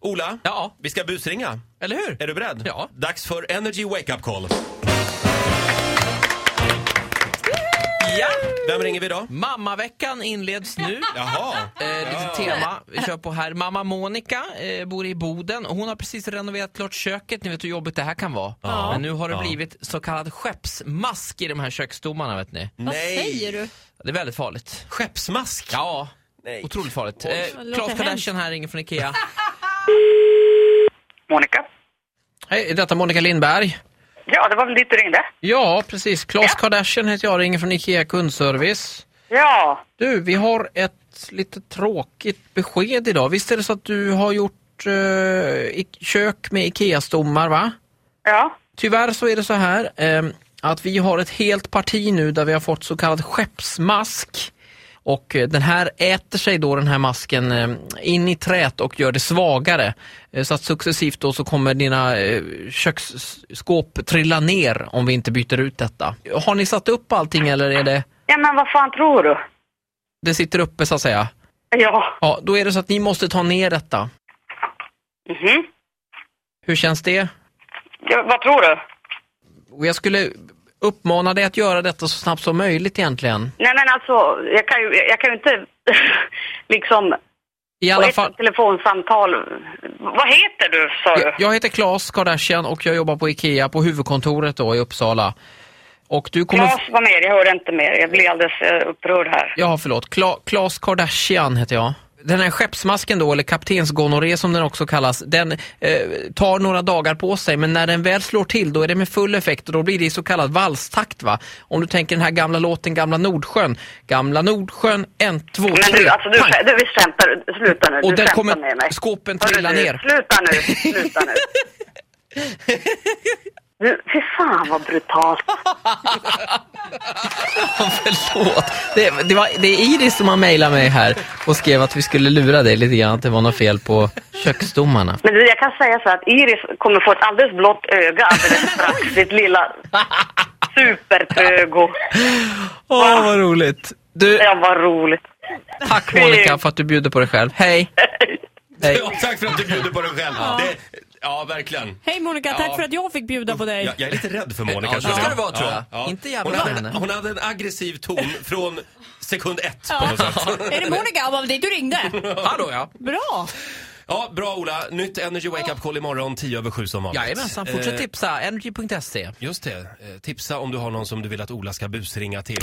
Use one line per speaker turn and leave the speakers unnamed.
Ola,
Ja.
vi ska busringa.
Eller hur?
Är du beredd?
Ja.
Dags för Energy Wake Up Call.
Ja!
Vem ringer vi då?
Mammaveckan inleds nu.
Jaha.
Eh, lite tema vi kör på här. Mamma Monica eh, bor i Boden och hon har precis renoverat klart köket. Ni vet hur jobbigt det här kan vara. Men nu har det blivit så kallad skeppsmask i de här köksdomarna vet ni.
Vad säger du?
Det är väldigt farligt.
Skeppsmask?
Ja,
Nej.
otroligt farligt.
vad
Eh,
låter
Claes Kardashian
hemskt.
här ringer från IKEA.
Monica?
Hej, är detta Monica Lindberg.
Ja, det var väl dit du ringde?
Ja, precis. Claes Kardashian heter jag, ringer från IKEA kundservice.
Ja,
Du, vi har ett lite tråkigt besked idag. Visst är det så att du har gjort eh, i- kök med IKEA-stommar va?
ja.
Tyvärr så är det så här ehm, att vi har ett helt parti nu där vi har fått så kallad skeppsmask. Och eh, den här äter sig då den här masken eh, in i trät och gör det svagare. Eh, Så att successivt då så kommer dina eh, köksskåp trilla ner om vi inte byter ut detta. Har ni satt upp allting eller är det,
Ja, men vad fan tror du?
det sitter uppe så att säga?
Ja.
Ja, då är det så att ni måste ta ner detta.
Mhm.
Hur känns det?
ja vad tror du?
Och jag skulle uppmana dig att göra detta så snabbt som möjligt egentligen.
Nej, men alltså, jag kan ju, jag kan ju inte liksom...
I
På
alla
ett
fall,
telefonsamtal... Vad heter du, sa du?
jag, jag heter Claes Kardashian och jag jobbar på IKEA på huvudkontoret då i Uppsala. Och du kommer...
Claes var med, jag hörde inte mer. Jag blir alldeles eh, upprörd här.
Ja, förlåt. Kla, Klas Kardashian heter jag. Den här skeppsmasken då, eller kaptensgonorré som den också kallas, den eh, tar några dagar på sig men när den väl slår till då är det med full effekt och då blir det i så kallad valstakt va. Om du tänker den här gamla låten Gamla Nordsjön. Gamla Nordsjön, en, två,
Men
tre,
du, alltså du,
pang.
skä- du visst skämtar. Sluta nu.
Och
du
där
skämtar
kommer
med mig.
skåpen
Hörru
trilla
du,
ner.
Sluta nu, sluta nu. Du, fy fan vad brutalt.
Förlåt. Det, det, var, det är Iris som har mejlat mig här och skrev att vi skulle lura dig lite grann, att det var något fel på köksdomarna.
Men du, jag kan säga så att Iris kommer få ett alldeles blått öga alldeles strax. Ditt lilla supertrögo.
Åh, vad roligt. Du,
Ja, vad roligt.
tack Monica för att du bjuder på dig själv. Hej! Hej.
Ja, tack för att du bjuder på dig själv. Det, ja, verkligen.
Hej Monica,
Ja.
tack för att jag fick bjuda på dig.
Jag, jag är lite rädd för Monica.
Ja, så
känner
ska det vara, tror jag. Inte jävla
hon, hade,
henne.
hon hade en aggressiv ton från sekund ett på
Ja.
något sätt.
Är det Monica? Ja, vad det är du ringde.
Hallå ja.
Bra!
Ja, bra Ola. Nytt Energy Wake Up Call imorgon 10 över 7 som vanligt. Eh,
Jajamensan, fortsätt tipsa. Energy.se.
Just det. Eh, Tipsa om du har någon som du vill att Ola ska busringa till.